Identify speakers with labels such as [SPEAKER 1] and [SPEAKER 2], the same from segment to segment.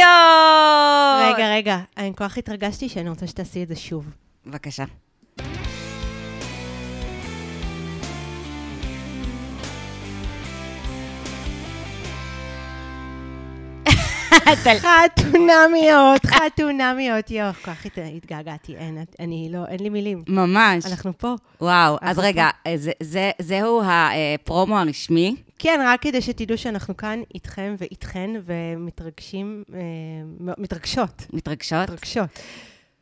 [SPEAKER 1] חתונמיות!
[SPEAKER 2] רגע, רגע, אני כל כך התרגשתי שאני רוצה שתעשי את זה שוב.
[SPEAKER 1] בבקשה.
[SPEAKER 2] חתונמיות, חתונמיות, יואו, כל כך הת- התגעגעתי, אין, את- אני לא, אין לי מילים.
[SPEAKER 1] ממש.
[SPEAKER 2] אנחנו פה.
[SPEAKER 1] וואו, אז
[SPEAKER 2] אנחנו
[SPEAKER 1] רגע, אה, זה- זה- זהו הפרומו הרשמי.
[SPEAKER 2] כן, רק כדי שתדעו שאנחנו כאן איתכם ואיתכן, ומתרגשים, אה, מ- מתרגשות,
[SPEAKER 1] מתרגשות
[SPEAKER 2] מתרגשות.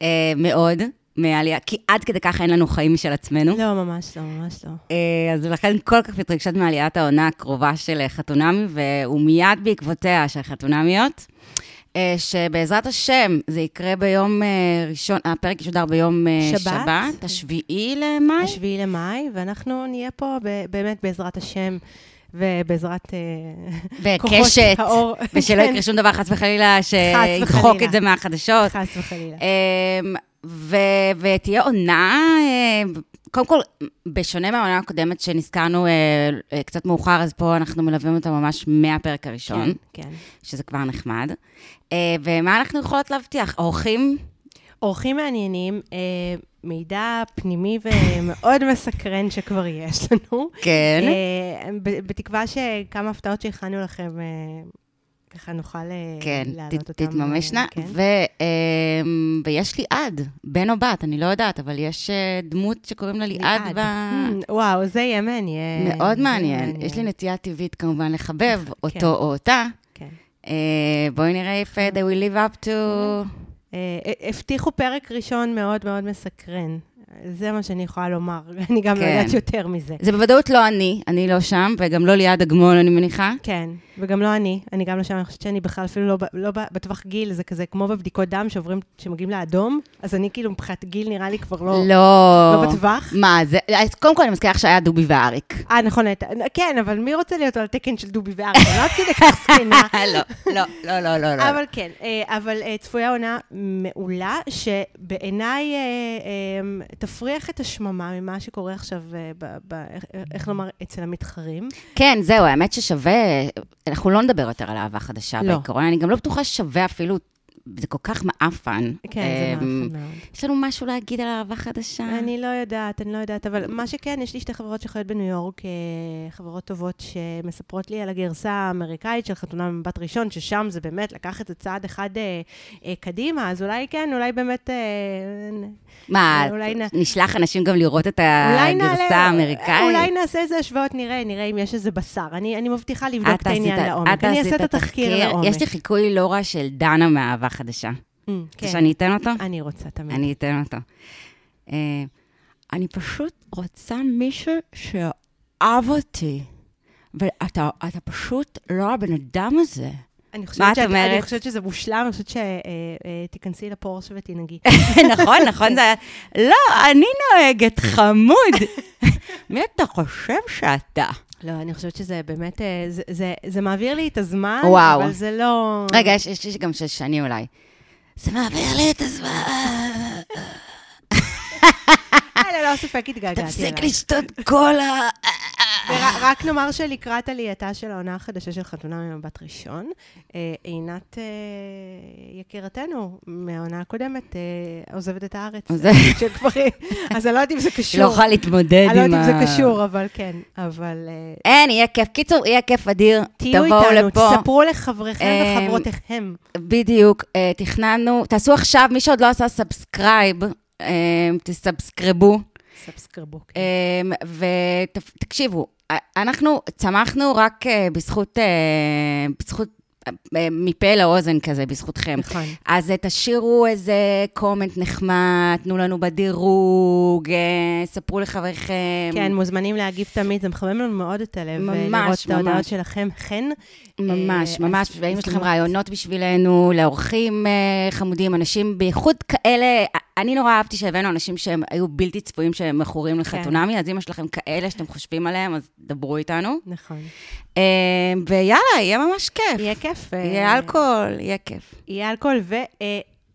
[SPEAKER 1] אה, מאוד מהעלייה, כי עד כדי כך אין לנו חיים משל עצמנו.
[SPEAKER 2] לא, ממש לא, ממש לא.
[SPEAKER 1] אה, אז לכן כל כך מתרגשת מעליית העונה הקרובה של אה, חתונמי, ומיד בעקבותיה של חתונמיות, אה, שבעזרת השם זה יקרה ביום אה, ראשון, הפרק ישודר ביום אה,
[SPEAKER 2] שבת? כן.
[SPEAKER 1] שבת השביעי למאי.
[SPEAKER 2] השביעי למאי, ואנחנו נהיה פה ב- באמת בעזרת השם ובעזרת אה, כוחות
[SPEAKER 1] בקשת,
[SPEAKER 2] האור.
[SPEAKER 1] ושלא
[SPEAKER 2] כן,
[SPEAKER 1] יקרה שום דבר, חס וחלילה, שידחוק
[SPEAKER 2] וחלילה.
[SPEAKER 1] את זה מהחדשות.
[SPEAKER 2] חס וחלילה.
[SPEAKER 1] אמ, ו- ותהיה עונה, אמ, קודם כל, בשונה מהעונה הקודמת שנזכרנו אה, אה, קצת מאוחר, אז פה אנחנו מלווים אותה ממש מהפרק הראשון,
[SPEAKER 2] כן, כן.
[SPEAKER 1] שזה כבר נחמד. אה, ומה אנחנו יכולות להבטיח? אורחים?
[SPEAKER 2] אורחים מעניינים, אה, מידע פנימי ומאוד מסקרן שכבר יש לנו.
[SPEAKER 1] כן.
[SPEAKER 2] אה, ב- בתקווה שכמה הפתעות שהכנו לכם, אה, ככה נוכל אה,
[SPEAKER 1] כן,
[SPEAKER 2] להעלות
[SPEAKER 1] ת-
[SPEAKER 2] אותם. אה,
[SPEAKER 1] תתממשנה.
[SPEAKER 2] כן.
[SPEAKER 1] ו- אמ, ויש ליעד, בן או בת, אני לא יודעת, אבל יש אה, דמות שקוראים לה ליעד ב...
[SPEAKER 2] Hmm, וואו, זה יהיה מעניין.
[SPEAKER 1] מאוד
[SPEAKER 2] זה
[SPEAKER 1] מעניין.
[SPEAKER 2] אה,
[SPEAKER 1] יש לי נטייה טבעית כמובן לחבב אותו או אותה.
[SPEAKER 2] כן.
[SPEAKER 1] אה, בואי נראה if uh, they will live up to...
[SPEAKER 2] אה, אה, הבטיחו פרק ראשון מאוד מאוד מסקרן. זה מה שאני יכולה לומר. אני גם לא
[SPEAKER 1] כן.
[SPEAKER 2] יודעת יותר מזה.
[SPEAKER 1] זה בוודאות לא אני, אני לא שם, וגם לא ליעד אגמון, אני מניחה.
[SPEAKER 2] כן, וגם לא אני, אני גם לא שם, אני חושבת שאני בכלל אפילו לא, ב- לא ב- בטווח גיל, זה כזה כמו בבדיקות דם שעוברים, שמגיעים לאדום, אז אני כאילו מבחינת גיל נראה לי כבר לא,
[SPEAKER 1] לא.
[SPEAKER 2] לא בטווח.
[SPEAKER 1] מה, זה... אז קודם כל, אני מזכירה לך שהיה דובי ואריק.
[SPEAKER 2] אה, נכון, הייתה- כן, אבל מי רוצה להיות על התקן של דובי וארץ? לא עד כדי כך זקנה.
[SPEAKER 1] אה, לא, לא, לא, לא, לא, לא.
[SPEAKER 2] אבל כן, אה, אבל אה, צפויה עונה מעולה, שבעיניי אה, אה, תפריח את השממה ממה שקורה עכשיו, אה, ב- ב- איך- איך לומר, אצל המתחרים.
[SPEAKER 1] כן, זהו, האמת ששווה... אנחנו לא נדבר יותר על אהבה חדשה
[SPEAKER 2] לא.
[SPEAKER 1] בעיקרון, אני גם לא בטוחה ששווה אפילו... זה כל כך מעפן.
[SPEAKER 2] כן, זה
[SPEAKER 1] אמ,
[SPEAKER 2] מעפן מאוד.
[SPEAKER 1] יש לנו משהו להגיד על אהבה חדשה?
[SPEAKER 2] אני לא יודעת, אני לא יודעת, אבל מה שכן, יש לי שתי חברות שחיות בניו יורק, אה, חברות טובות שמספרות לי על הגרסה האמריקאית של חתונה ממבט ראשון, ששם זה באמת לקח את זה צעד אחד אה, אה, קדימה, אז אולי כן, אולי באמת... אה, נ-
[SPEAKER 1] מה,
[SPEAKER 2] אולי נ-
[SPEAKER 1] נשלח אנשים גם לראות את
[SPEAKER 2] אולי נעלה-
[SPEAKER 1] אה,
[SPEAKER 2] אה,
[SPEAKER 1] הגרסה האמריקאית?
[SPEAKER 2] אולי נעשה איזה השוואות, נראה, נראה אם יש איזה בשר. אני, אני מבטיחה לבדוק את
[SPEAKER 1] את עשית-
[SPEAKER 2] העניין לעומק.
[SPEAKER 1] את
[SPEAKER 2] אני אעשה
[SPEAKER 1] עשית
[SPEAKER 2] את התחקיר לעומק.
[SPEAKER 1] יש לי חיקוי לא רע של דנה מאהבה חדשה.
[SPEAKER 2] Mm,
[SPEAKER 1] כן.
[SPEAKER 2] כן.
[SPEAKER 1] שאני אתן אותו?
[SPEAKER 2] אני רוצה תמיד.
[SPEAKER 1] אני אתן אותו. אה, אני פשוט רוצה מישהו שאהב אותי, ואתה אתה פשוט לא הבן אדם הזה.
[SPEAKER 2] אני
[SPEAKER 1] מה את
[SPEAKER 2] חושבת שאת- אני
[SPEAKER 1] אומרת?
[SPEAKER 2] חושבת שזה מושלם, אני חושבת שתיכנסי לפורש ותנהגי.
[SPEAKER 1] נכון, נכון, זה היה... לא, אני נוהגת חמוד. מי אתה חושב שאתה?
[SPEAKER 2] לא, אני חושבת שזה באמת, אה, זה, זה, זה מעביר לי את הזמן,
[SPEAKER 1] וואו.
[SPEAKER 2] אבל זה לא...
[SPEAKER 1] רגע, יש- יש לי גם של שני אולי. זה מעביר לי את הזמן.
[SPEAKER 2] אה, לא, לא ספק התגעגעתי אליו.
[SPEAKER 1] תפסיק לשתות קולה.
[SPEAKER 2] ור- רק נאמר שלקראת עלייתה של העונה החדשה של חתונה ממבט ראשון, אה, עינת אה, יקירתנו מהעונה הקודמת אה, עוזבת את הארץ.
[SPEAKER 1] עוזב-
[SPEAKER 2] שכבר... אז אני לא יודעת אם זה קשור.
[SPEAKER 1] לא אה, אוכל להתמודד
[SPEAKER 2] אני
[SPEAKER 1] עם
[SPEAKER 2] לא
[SPEAKER 1] ה...
[SPEAKER 2] יודעת אם זה קשור, אבל כן. אבל אה,
[SPEAKER 1] אין, יהיה כיף. קיצור, יהיה כיף אדיר.
[SPEAKER 2] תהיו
[SPEAKER 1] תבואו
[SPEAKER 2] איתנו,
[SPEAKER 1] לפה.
[SPEAKER 2] תספרו לחבריכם
[SPEAKER 1] אה,
[SPEAKER 2] וחברותיכם.
[SPEAKER 1] בדיוק. אה, תכננו, תעשו עכשיו, מי שעוד לא עשה סאבסקרייב, אה, תסאבסקרבו. אה,
[SPEAKER 2] סאבסקרבו. כן.
[SPEAKER 1] ותקשיבו, אה, אנחנו צמחנו רק אה, בזכות, אה, בזכות, אה, מפה לאוזן כזה, בזכותכם.
[SPEAKER 2] נכון.
[SPEAKER 1] אז אה, תשאירו איזה קומנט נחמד, תנו לנו בדירוג, אה, ספרו לחבריכם.
[SPEAKER 2] כן, מוזמנים להגיב תמיד, זה מחמם לנו מאוד את הלב.
[SPEAKER 1] ממש,
[SPEAKER 2] אה, לראות את ההודעות
[SPEAKER 1] ממש.
[SPEAKER 2] שלכם, חן.
[SPEAKER 1] ממש,
[SPEAKER 2] אה,
[SPEAKER 1] ממש,
[SPEAKER 2] אז-
[SPEAKER 1] ואם
[SPEAKER 2] אז
[SPEAKER 1] יש לכם
[SPEAKER 2] כמובן-
[SPEAKER 1] רעיונות בשבילנו, לאורחים אה, חמודים, אנשים בייחוד כאלה, אני נורא אהבתי שהבאנו אנשים שהם היו בלתי צפויים, שהם מכורים לחתונמי, אז אם יש לכם כאלה שאתם חושבים עליהם, אז דברו איתנו.
[SPEAKER 2] נכון.
[SPEAKER 1] אה, ויאללה, יהיה ממש כיף.
[SPEAKER 2] יהיה כיף. אה,
[SPEAKER 1] יהיה אלכוהול, יהיה כיף.
[SPEAKER 2] יהיה אלכוהול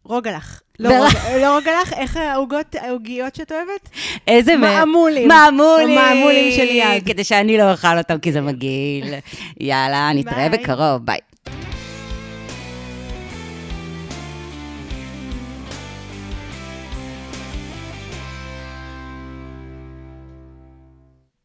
[SPEAKER 2] ורוגלח. לא
[SPEAKER 1] ור-
[SPEAKER 2] רוג- לא רוגלח, איך העוגות, העוגיות שאת אוהבת?
[SPEAKER 1] איזה מ-
[SPEAKER 2] מעמולים.
[SPEAKER 1] מעמולים.
[SPEAKER 2] מעמולים של יד.
[SPEAKER 1] כדי שאני לא אוכל אותם, כי זה מגעיל. יאללה, נתראה
[SPEAKER 2] ביי.
[SPEAKER 1] בקרוב, ביי.